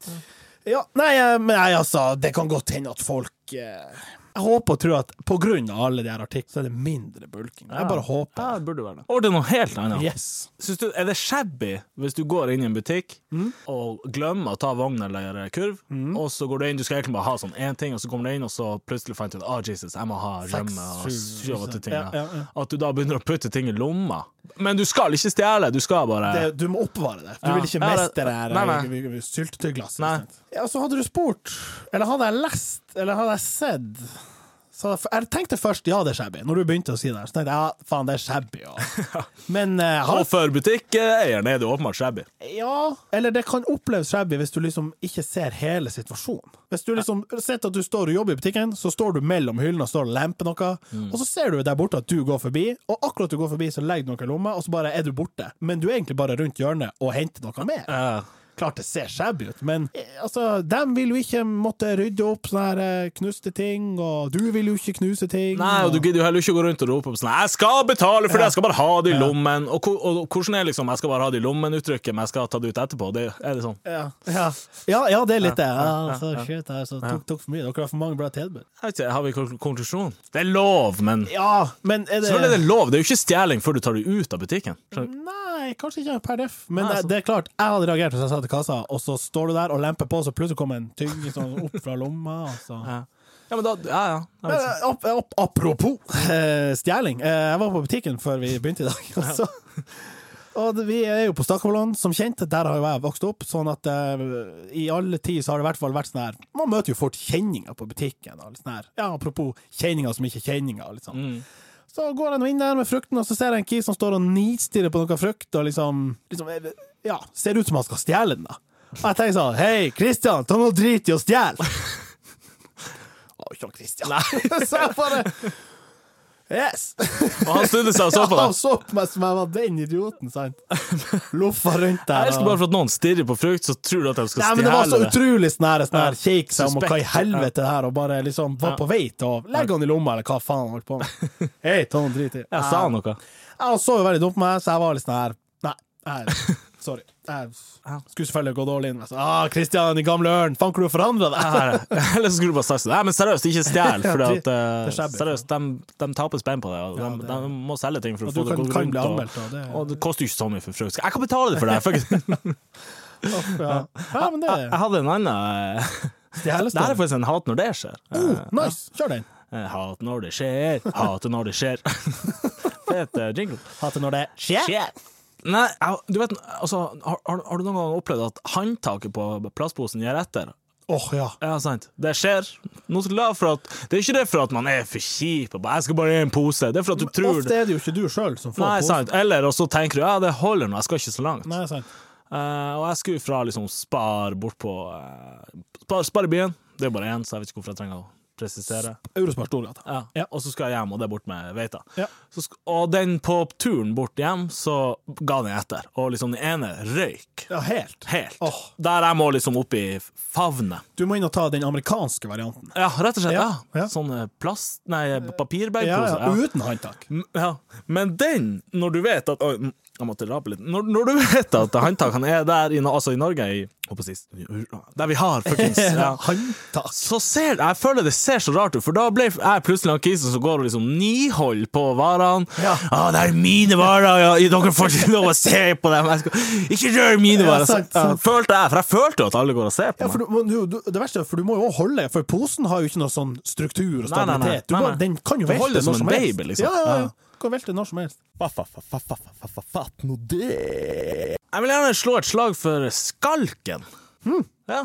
S1: Ja, nei, eh, men nei, altså, det kan godt hende at folk eh, Jeg håper og tror at på grunn av alle de her artiklene, så er det mindre bulking. Jeg bare håper.
S3: Ja, det burde være det. Over til noe helt annet.
S1: Yes.
S3: Synes du, er det shabby hvis du går inn i en butikk
S1: Mm.
S3: og glemmer å ta vogn eller kurv, og så går du inn, du skal egentlig bare ha sånn én ting, og så kommer du inn, og så plutselig fant du ut ah, Jesus, jeg må ha rømme og
S1: sju,
S3: sju åtte ting.
S1: ja, ja, ja.
S3: At du da begynner å putte ting i lomma. Men du skal ikke stjele, du skal bare
S1: Det, du må oppbevare det. Du
S3: Ja.
S1: vil ikke
S3: Ja, det-
S1: miste det her
S3: Nei, nei.
S1: eh, vi- vi- syltetøyglasset.
S3: Nei.
S1: ikke sant? Ja, så hadde du spurt, eller hadde jeg lest, eller hadde jeg sett så hadde jeg jeg tenkte først ja, det er shabby. Når du begynte å si det, her, så tenkte jeg ja, faen, det er shabby. Ja. Men eh, jeg har
S3: Og for butikkeieren er det jo åpenbart shabby.
S1: Ja, eller det kan oppleves shabby hvis du liksom ikke ser hele situasjonen. Hvis du liksom sett at du står og jobber i butikken, så står du mellom hyllene og står og lemper noe, og så ser du der borte at du går forbi, og akkurat du går forbi, så legger du noe i lomma, og så bare er du borte. Men du er egentlig bare rundt hjørnet og henter noe mer. Klart det ser shabby ut, men eh, altså, dem vil jo ikke måtte rydde opp sånne her eh, knuste ting, og du vil jo ikke knuse ting.
S3: Nei, og du gidder jo heller ikke å gå rundt og rope på sånn 'Jeg skal betale for det! Jeg skal bare ha det i lommen!' Og, ko- og hvordan er liksom 'Jeg skal bare ha det i lommen'-uttrykket, men jeg skal ta det ut etterpå? Det, er det sånn?
S1: ja. Ja. ja, ja, det er litt det. Ja, så shit, altså, tok, tok for mye. Dere har for mange bra tilbud.
S3: Jeg vet ikke, Har vi kon- konklusjon? Det er lov, men
S1: Ja, men er det
S3: Selvfølgelig er det lov. Det er jo ikke stjeling før du tar det ut av butikken. Skjønner du?
S1: Nei, kanskje ikke per def, men
S3: Nei, altså-
S1: det,
S3: sant.
S1: det er klart, jeg hadde reagert hvis jeg satt i kassa, og så står du der og lemper på, så plutselig kommer en tygg sånn opp fra lomma. altså. Og så.
S3: Ja. ja, men da Ja, ja. Jeg
S1: Men,
S3: vet ikke.
S1: eh, ap ap apropos eh, stjeling. Eh, jeg var på butikken før vi begynte i dag. Og, så, og det- vi er jo på Stakkevollan, som kjent. Der har jo jeg vokst opp. Sånn at eh, i alle tider så har det i hvert fall vært sånn her Man møter jo fort kjenninger på butikken. Og litt sånn her. Ja, apropos kjenninger som ikke er kjenninger. og Litt sånn. Så går han inn der med frukten, og så ser jeg en kis som står og nitstirrer på noe frukt, og liksom, liksom Ja, ser ut som han skal stjele den, da. Og jeg tenker sånn Hei, Kristian, ta nå drit i å stjele! Å, ikke han Kristian. så jeg bare Yes!
S3: Og han snudde seg og så på
S1: Han
S3: deg.
S1: så på meg som jeg var den idioten, sant? Loffa rundt der.
S3: Jeg elsker bare for at noen stirrer på frukt, så tror du at de skal
S1: Nei,
S3: stjele
S1: men det var så
S3: det.
S1: utrolig sånn her, sånn her
S3: Ja.
S1: kjekk seg om og hva i
S3: Suspekt.
S1: helvete det her, og bare liksom var
S3: Ja.
S1: på vei til å legge han i lomma, eller hva faen han holdt på med. Hei, ta noe drit i.
S3: Jeg sa noe.
S1: Ja, han så jo veldig dum på meg, så jeg var litt sånn her Nei, jeg, sorry. Jeg skulle selvfølgelig gå dårlig inn. men Jeg sa, ah, Kristian, din gamle ørn, faen, hvor du har forandra deg!
S3: Her. Eller så skulle du bare sagt sånn. Nei, men seriøst, ikke stjel. For
S1: Ja, det-
S3: at, eh,
S1: det er shabby.
S3: seriøst, de, de taper spenn på det. Og de,
S1: Ja, det-
S3: de må selge ting for
S1: Og
S3: å få
S1: du
S3: det
S1: kan-
S3: godt
S1: kan
S3: rundt.
S1: bli
S3: og-
S1: anmeldt, og det-
S3: Og det koster jo ikke så mye for frukt. Jeg kan betale det for deg! Fuck. it.
S1: Ja. ja, men det
S3: Jeg jeg hadde en annen eh,
S1: det hele
S3: Det her er
S1: står.
S3: faktisk en hat når det skjer.
S1: Oh, nice! Kjør den.
S3: Eh, Hat når det skjer, hate når det skjer. Det heter jingle.
S1: Hater når det skjer.
S3: Skjer. Nei, jeg- du vet, altså, har, har har du noen gang opplevd at håndtaket på plastposen gir etter?
S1: Åh, ja.
S3: Ja, sant. Det skjer. Nå skal du glad for at Det er ikke det for at man er for kjip og bare 'jeg skal bare gi en pose'. Det er for at du tror
S1: Ofte er det jo ikke du sjøl som får
S3: Nei,
S1: posen.
S3: sant. Eller og så tenker du 'ja, det holder nå, jeg skal ikke så langt'.
S1: Nei, sant.
S3: Eh, og jeg skulle fra liksom Spar bort på eh, Spar, spar i byen. Det er bare én, så jeg vet ikke hvorfor jeg trenger å presisere.
S1: Eurospar Storgata.
S3: Ja.
S1: Ja.
S3: Og så skal jeg hjem, og det er bort med veita.
S1: Ja.
S3: Så sk- Og den på turen bort hjem, så ga den etter. Og liksom den ene røyk
S1: Ja, helt.
S3: helt.
S1: Åh.
S3: Der jeg må liksom opp i favnet.
S1: Du må inn og ta den amerikanske varianten.
S3: Ja, rett og slett. Ja.
S1: Ja, ja.
S3: Sånn eh, plast... Nei,
S1: Ja,
S3: papirbagpose.
S1: ja, uten håndtak.
S3: M- Ja, men den, når du vet at Oi, mm, jeg måtte rape litt. Når, når du vet at håndtakene er der i, Nor- altså i Norge, i, håper jeg sist, der vi har fuckings ja.
S1: Håndtak.
S3: Så ser Jeg føler det ser så rart ut, for da ble jeg plutselig han kisen som går og liksom nihold på varene.
S1: Ja.
S3: ah, 'Det er mine varer, ja. dere får ikke lov å se på dem.' Jeg skal, 'Ikke rør mine
S1: Ja,
S3: varer.' Så-
S1: sant, sant.
S3: Ja, følte jeg, for jeg følte jo at alle går og ser på
S1: Ja, for
S3: meg.
S1: du, må- du, du, det verste er, for du må jo også holde, for posen har jo ikke noe sånn struktur og
S3: Nei, nei, nei.
S1: stabilitet. Du
S3: Nei,
S1: bare,
S3: nei.
S1: den kan jo
S3: Du
S1: velte
S3: holder
S1: når
S3: det som
S1: som
S3: en
S1: helst.
S3: baby, liksom.
S1: Ja, ja,
S3: Ja.
S1: ja. Du kan velte når som helst.
S4: Fatt nå det!
S3: Jeg vil gjerne slå et slag for skalken.
S1: Hmm.
S3: Ja,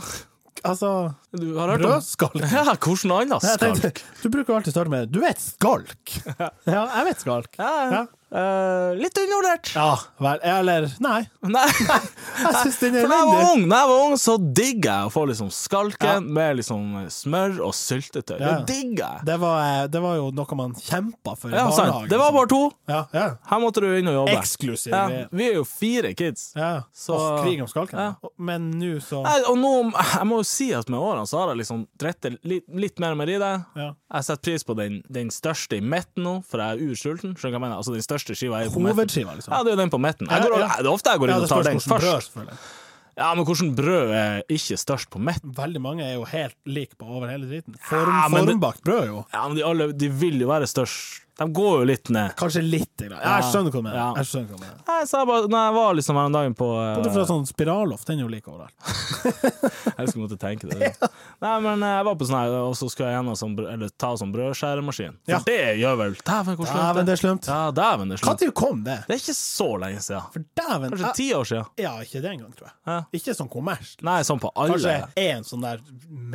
S1: Altså,
S3: du har hørt om
S1: brødskalk.
S3: Ja, hvordan annen
S1: Jeg
S3: skalk?
S1: tenkte, du bruker jo alltid starte med Du vet skalk! Ja, jeg vet skalk.
S3: Ja, ja.
S1: Ja.
S3: Eh, litt undervurdert.
S1: Ja, vel, eller Nei.
S3: Nei.
S1: Jeg syns den er
S3: For da jeg var
S1: elendig.
S3: ung, da jeg var ung så digga jeg å få liksom skalken
S1: Ja.
S3: med liksom smør og syltetøy.
S1: Ja.
S3: Det digga jeg.
S1: Det var, eh, det var jo noe man kjempa for i
S3: Ja, sant.
S1: barnehagen. liksom.
S3: Det var bare to.
S1: ja, ja.
S3: Her måtte du inn og jobbe.
S1: Eksklusiv
S3: Ja,
S1: greie.
S3: vi er jo fire kids.
S1: Ja.
S3: Så-
S1: Åh, krig om skalken.
S3: Ja.
S1: Men nå så
S3: Nei, og nå, jeg må jo si at med årene så har jeg liksom drett det litt, litt mer mer i det.
S1: Ja.
S3: Jeg setter pris på den, den største i midten nå, for jeg er ursulten. Skjønner du hva jeg mener? Altså, den største skiva er jo på midten.
S1: Hovedskiva, liksom.
S3: Ja, det er jo den på midten. Jeg
S1: Ja,
S3: går, og-
S1: ja.
S3: Det er ofte jeg går
S1: Ja,
S3: inn
S1: det
S3: og tar
S1: spørs
S3: den
S1: hvordan brød,
S3: først.
S1: selvfølgelig.
S3: Ja, men hvordan brød er ikke størst på midten?
S1: Veldig mange er jo helt like på over hele driten. Form,
S3: Ja, men det-
S1: formbakt brød, jo.
S3: Ja, men de, alle, de vil jo være størst. De går jo litt ned.
S1: Kanskje litt. i grad. Jeg skjønner hva du mener.
S3: Ja.
S1: Jeg skjønner hva du mener.
S3: Nei, så jeg bare, når jeg var liksom her om dagen på eh,
S1: Bortsett fra sånn spiralloff, den er jo like overalt.
S3: Jeg skulle måtte tenke det. Nei, men eh, jeg var på sånn her, og så skulle jeg gjennom sånn, brød- eller ta sånn brødskjæremaskin. For
S1: Ja.
S3: det gjør vel Dæven, hvor
S1: Dæven,
S3: slemt
S1: det er slemt.
S3: Ja, dæven, det er slemt.
S1: Når kom det?
S3: Det er ikke så lenge siden.
S1: For dæven
S3: Kanskje
S1: jeg-
S3: ti år siden.
S1: Ja, ikke det engang, tror jeg.
S3: Ja.
S1: Ikke sånn kommersielt.
S3: Nei, sånn på alle.
S1: Kanskje én sånn der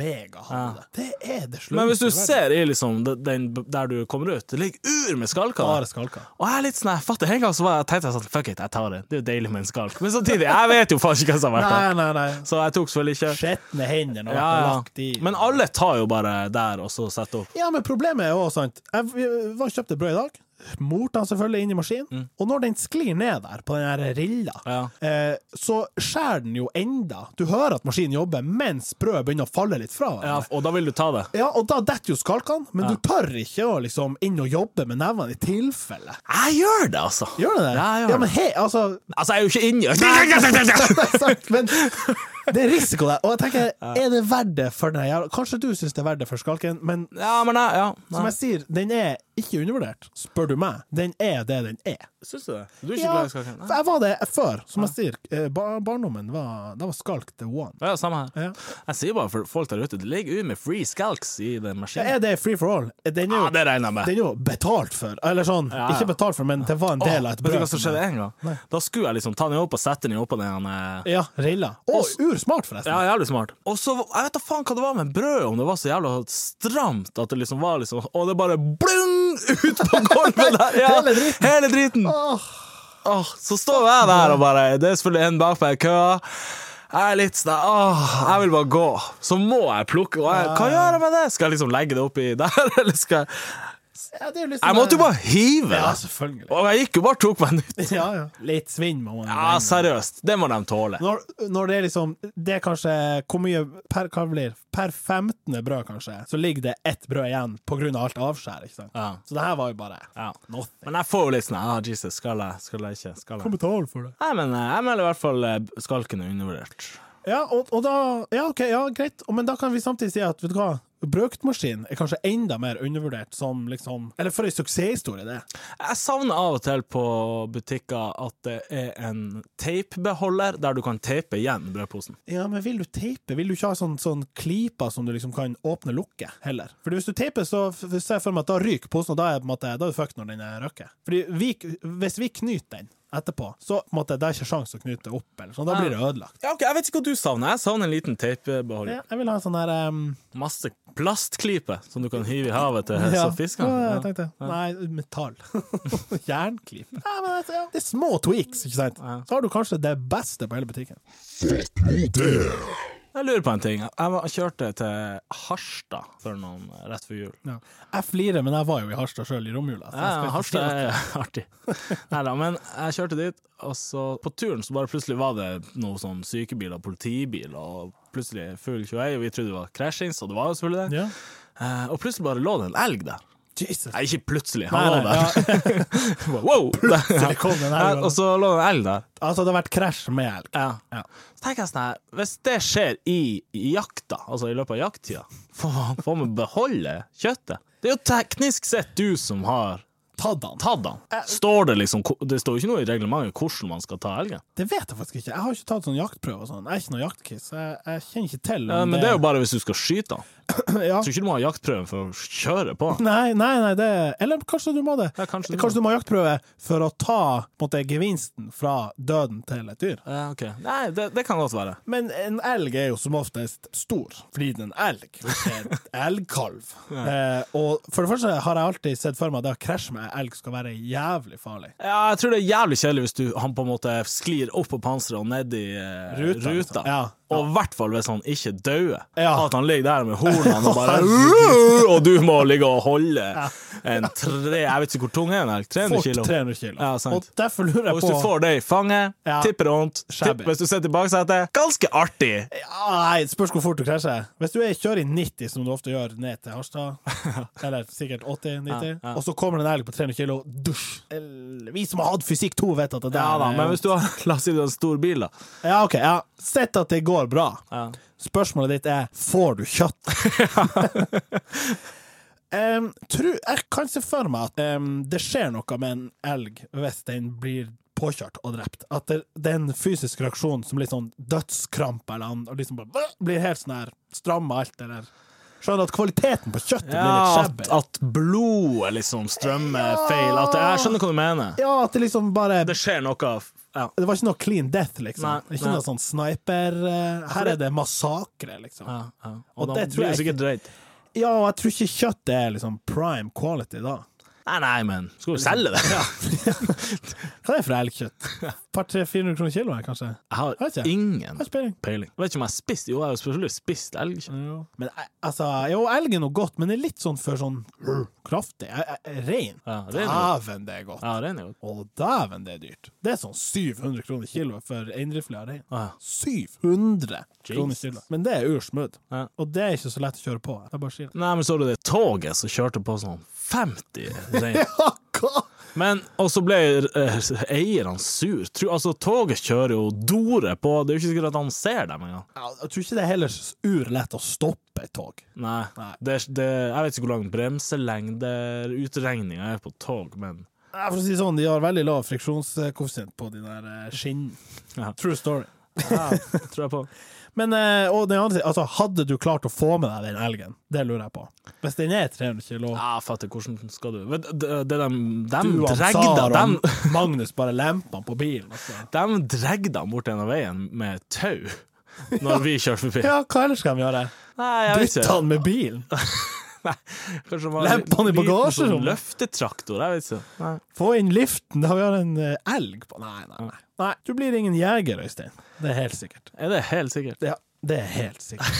S1: megahandel. Det er det slemmeste.
S3: Men hvis du
S1: i verden.
S3: ser i liksom den- den der du kommer ut, det ligger ur med skalker. der.
S1: Bare skalker.
S3: Og jeg er litt sånn, jeg fatter En gang så var jeg, tenkte jeg sånn Fuck it, jeg tar det. Det er jo deilig med en skalk. Men samtidig, jeg vet jo faen ikke hva som har vært der.
S1: Nei, nei, nei.
S3: Så jeg tok selvfølgelig ikke.
S1: Skjetne hender og
S3: Ja,
S1: lagt i
S3: ja. Men alle tar jo bare der og så setter opp.
S1: Ja, men problemet er jo også sant Jeg v- var og kjøpte brød i dag. Morte han selvfølgelig inn i maskinen. Og når den sklir ned der, på den her rilla,
S3: Mm. Ja.
S1: eh, så skjærer den jo enda Du hører at maskinen jobber mens brødet begynner å falle litt fra
S3: Ja,
S1: hverandre.
S3: og da vil du ta det.
S1: Ja, og da detter jo skalkene, men du tør ikke å liksom inn og jobbe med nevene i tilfelle.
S3: Jeg gjør det, altså!
S1: Gjør du det?
S3: Ja, jeg gjør
S1: ja men
S3: det.
S1: he, altså
S3: Altså, jeg er jo ikke inni
S1: Nei, sant, Men det er risiko der. Og jeg tenker, er det verdt det for den her jævla Kanskje du syns det er verdt det for skalken, men
S3: Ja, men nei, ja.
S1: Som
S3: Nei.
S1: jeg sier, den er ikke undervurdert, spør du meg. Den er det den er.
S3: Syns du det? Du er ikke
S1: Ja,
S3: glad i
S1: for
S3: skalken? Nei.
S1: jeg var det før, som jeg sier. eh, Bar barndommen var, da var skalk the one.
S3: Ja, samme her.
S1: Ja.
S3: Jeg sier bare for folk der ute, det ligger jo med free skalks i den
S1: Ja,
S3: maskinen.
S1: er det free for all? Eh, Den er jo,
S3: Ja, det regner jeg med.
S1: den er jo betalt for. Eller sånn,
S3: Ja, ja.
S1: ikke betalt for, men det var en del av
S3: Åh,
S1: et
S3: Vet du
S1: brød.
S3: hva som skjedde en gang? Da skulle jeg liksom ta den opp og sette den opp på den eh,
S1: Ja, Rilla. Å, ursmart, forresten.
S3: Ja, jævlig smart. liksom. Og så, jeg vet da faen hva det var med brødet, om det var så jævla stramt at det liksom var liksom Og det bare blung ut på gulvet der! Ja,
S1: Hele driten.
S3: Hele driten.
S1: Åh.
S3: Åh, så står jeg der og bare Det er selvfølgelig en bak meg i køa. Jeg er litt sånn Åh, jeg vil bare gå. Så må jeg plukke. Og jeg, hva gjør jeg med det? Skal jeg liksom legge det oppi der, eller skal jeg
S1: Ja, det er jo litt sånn-
S3: Jeg måtte jo bare hive
S1: Ja,
S3: det.
S1: selvfølgelig.
S3: Og jeg gikk jo bare og tok meg en nytt.
S1: Ja, ja. Litt svinn må man
S3: Ja,
S1: regne med.
S3: seriøst. Det må de tåle.
S1: Når, når det er liksom Det er kanskje Hvor mye per, hva det blir Per 15. brød, kanskje, så ligger det ett brød igjen på grunn av alt avskjær. Ikke sant?
S3: Ja.
S1: Så det her var jo bare
S3: Ja.
S1: nothing.
S3: Men jeg får jo litt sånn ah, Jesus, skal jeg, skal jeg ikke? Skal jeg?
S1: betale for det.
S3: Nei, men eh, jeg melder i hvert fall eh, skalken er undervurdert.
S1: Ja, og, og da Ja, OK, ja, greit. Og- Men da kan vi samtidig si at, vet du hva, brøktmaskin er kanskje enda mer undervurdert som liksom Eller for ei suksesshistorie, det.
S3: Jeg savner av og til på butikker at det er en teipbeholder der du kan teipe igjen brødposen.
S1: Ja, men vil du teipe? Vil du ikke ha sånn, sånn klyper som du liksom kan åpne og lukke, heller? Fordi hvis du teiper, så f- ser jeg for meg at da ryker posen, og da er, på en måte, da er du fucked når den er røkket. Fordi vi, hvis vi knyter den etterpå, så på en måte, det er ikke sjans å knyte opp, eller sånn, da blir det ødelagt.
S3: Ja, ok, Jeg vet ikke hva du savner. Jeg savner en liten teipbeholder.
S1: Ja, jeg vil ha en sånn der ehm,
S3: Masse plastklype som du kan hive i havet til
S1: ja.
S3: ja. fiskene.
S1: Ja, jeg
S3: Ja.
S1: tenkte. Nei, metall. Jernklype. Nei, men altså, ja. Det er små tweaks, ikke sant? Så har du kanskje det beste på hele butikken.
S3: Jeg lurer på en ting. Jeg var- kjørte til Harstad for noen rett før jul.
S1: Ja. Jeg flirer, men jeg var jo i Harstad sjøl i romjula. så jeg skal
S3: Ja,
S1: ikke si
S3: Harstad
S1: at-
S3: er artig. Neida, men jeg kjørte dit, og så på turen så bare plutselig var det noe sånn sykebil og politibil, og plutselig full 21, og vi trodde det var crashings, og det var jo selvfølgelig det.
S1: Ja.
S3: Eh, og plutselig bare lå det en elg der.
S1: Jesus.
S3: Nei, ikke plutselig,
S1: Nei,
S3: han lå
S1: nei,
S3: der.
S1: ja.
S3: Wow!
S1: Plutselig kom det en elg,
S3: Ja, Og så lå det en elg der.
S1: Altså, det har vært krasj med elg.
S3: Ja.
S1: Ja.
S3: Så tenker jeg sånn her, hvis det skjer i, i jakta, altså i løpet av jakttida, får man- får man beholde kjøttet? Det er jo teknisk sett du som har
S1: Tatt han.
S3: tatt den. Står det liksom Det står jo ikke noe i reglementet hvordan man skal ta elgen.
S1: Det vet jeg faktisk ikke. Jeg har ikke tatt sånn jaktprøve og sånn. Jeg er ikke noen jaktkiss. Jeg, jeg kjenner ikke til om
S3: Ja, men det er jo bare hvis du skal skyte den.
S1: ja.
S3: Jeg tror ikke du må ha jaktprøven for å kjøre på.
S1: Nei, nei, nei, det Eller kanskje du må det.
S3: Ja, kanskje du må.
S1: du må ha jaktprøve for å ta på en måte, gevinsten fra døden til et dyr.
S3: Ja, ok. Nei, det, det kan godt være.
S1: Men en elg er jo som oftest stor, fordi den er en elg, og ikke en elgkalv. Eh, og for det første har jeg alltid sett for meg at det å krasje med elg skal være jævlig farlig.
S3: Ja, jeg tror det er jævlig kjedelig hvis du, han på en måte sklir opp på panseret og ned i eh,
S1: Ruta,
S3: ruta.
S1: liksom. Ja.
S3: Og i hvert fall hvis han ikke dauer.
S1: Ja.
S3: At han ligger der med hornene og bare Og du må ligge og holde en tre Jeg vet ikke hvor tung er en elg? 300
S1: Fort
S3: kilo?
S1: 300 kilo.
S3: Ja, sant.
S1: Og derfor lurer
S3: Og
S1: jeg
S3: hvis du
S1: på
S3: får det i fanget,
S1: Ja.
S3: tipper det vondt.
S1: Shabby.
S3: Tipp, hvis du sitter i baksetet, ganske artig.
S1: ja, Nei, spørs hvor fort du krasjer. Hvis du er kjører i 90, som du ofte gjør ned til Harstad, eller sikkert 80-90,
S3: Ja, ja.
S1: og så kommer det en elg på 300 kilo, dusj! Eller, Vi som har hatt fysikk 2, vet at det der
S3: Ja da,
S1: er-
S3: men hvis du har La oss si du har en stor bil, da.
S1: Ja, OK. Ja. Sett at det går bra.
S3: Ja.
S1: Spørsmålet ditt er får du kjøtt. Em, tru, jeg kan se for meg at em, det skjer noe med en elg hvis den blir påkjørt og drept. At det, det er en fysisk reaksjon som litt sånn dødskrampe eller han og liksom bare "Bæ!" blir helt sånn her stramma alt eller Skjønner at kvaliteten på kjøttet blir litt
S3: Ja, at,
S1: shabby.
S3: at blodet liksom strømmer feil. At det, jeg skjønner hva du mener.
S1: Ja, at det liksom bare
S3: Det skjer noe ja.
S1: Det var ikke noe clean death, liksom.
S3: Nei,
S1: ikke
S3: nei.
S1: noe sånn sniper eh, Her er det massakre, liksom.
S3: Ja, ja.
S1: Og
S3: Og, da
S1: det tror
S3: blir det
S1: jeg ikke-
S3: sikkert drøyt.
S1: Ja, og jeg tror ikke kjøttet er liksom prime quality da.
S3: Nei, nei, men skal du selge det?
S1: Hva er det for elgkjøtt? Par 300-400 kroner kiloen, kanskje?
S3: Jeg har
S1: Vet ikke. Jeg
S3: ingen
S1: har ikke peiling.
S3: peiling. Jeg vet ikke om jeg har spist Jo, jeg har jo selvfølgelig spist elgkjøtt.
S1: Men eh, altså, jo, elg er noe godt, men det er litt sånn for sånn uh, kraftig. Eh, eh, Rein.
S3: Ja, rein er godt.
S1: Dæven, det er godt.
S3: Ja, rein er godt.
S1: Å, dæven, det er dyrt. Det er sånn 700 kroner kiloet for reindriftslig av rein.
S3: Ja.
S1: 700 kroner
S3: Jesus.
S1: kiloet. Men det er ursmudd.
S3: Ja.
S1: Og det er ikke så lett å kjøre på. Jeg bare sier det.
S3: Nei, men så du det toget som kjørte på sånn 50 rein?
S1: Hva?
S3: Men, og så ble eh, eieren sur. Tro, altså, toget kjører jo dore på Det er jo ikke sikkert at han ser dem engang.
S1: Ja, Jeg tror ikke det er heller urlett å stoppe et tog.
S3: Nei.
S1: Nei.
S3: Det, det, jeg vet ikke hvor lang bremselengdeutregninga er på tog, men
S1: Ja, for å si det sånn, De har veldig lav friksjonskoeffisient på de der eh, skinnene.
S3: Ja.
S1: True story.
S3: ja, tror jeg på.
S1: Men eh, og den andre, siden, altså, hadde du klart å få med deg den elgen? Det lurer jeg på. Hvis den er 300 kilo
S3: Ja, fatter, hvordan skal du Vet du, Det, det dem, dem
S1: Du og
S3: dregda
S1: Sara
S3: dem,
S1: og Magnus bare lempa den på bilen. Altså.
S3: dem dregda bort denne veien med tau når vi kjørte forbi.
S1: Ja, hva ellers skal de gjøre?
S3: Nei, jeg vet
S1: Dytte
S3: ikke.
S1: han med bilen?
S3: Nei, kanskje det var en
S1: Lempe han i
S3: liten
S1: bagasjerommet.
S3: sånn Løftetraktor, jeg vet ikke. Nei.
S1: Få inn liften, da har vi har en eh, elg på Nei, nei, nei. nei. Du blir ingen jeger, Øystein. Det er helt sikkert.
S3: Er det helt sikkert?
S1: Ja, det er helt sikkert.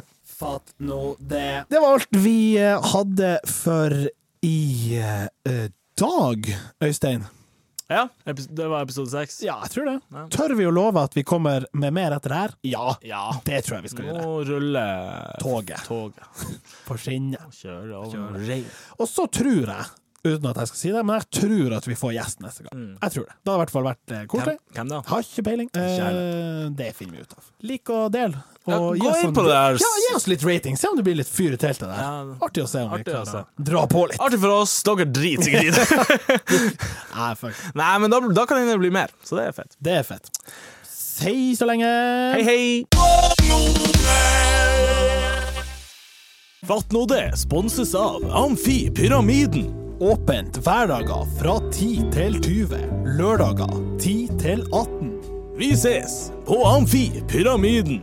S1: Fatt nå det. Det var alt vi eh, hadde for i eh, dag, Øystein.
S3: Ja, epis- det var episode seks.
S1: Ja, jeg tror det.
S3: Ja.
S1: Tør vi å love at vi kommer med mer etter det her? Ja,
S3: Ja.
S1: det tror jeg vi skal gjøre.
S3: Nå ruller
S1: Toget
S3: toget.
S1: på skinnet.
S3: Kjører over rein.
S1: Og så tror jeg, uten at jeg skal si det, men jeg tror at vi får gjest neste gang.
S3: Mm.
S1: Jeg tror det. Det har i hvert fall vært eh, koselig.
S3: Hvem, hvem da?
S1: Har ikke peiling. Eh, det finner vi ut av. Lik og del. Og
S3: Ja,
S1: gi
S3: gå
S1: oss
S3: inn
S1: sånn-
S3: på det der.
S1: Ja, gi oss litt rating. Se om det blir litt fyr i teltet der.
S3: Ja.
S1: Artig å se om
S3: Artig
S1: vi
S3: å
S1: klarer å dra på litt.
S3: Artig for oss, dere driter i det.
S1: Nei, fuck.
S3: Nei, men da, da kan det bli mer, så det er fett.
S1: Det er fett. Si så lenge.
S3: Hei, hei! Fatt nå det sponses av Amfi Pyramiden.
S1: Åpent hverdager fra 10 til 20. Lørdager 10 til 18.
S3: Vi ses på Amfi Pyramiden.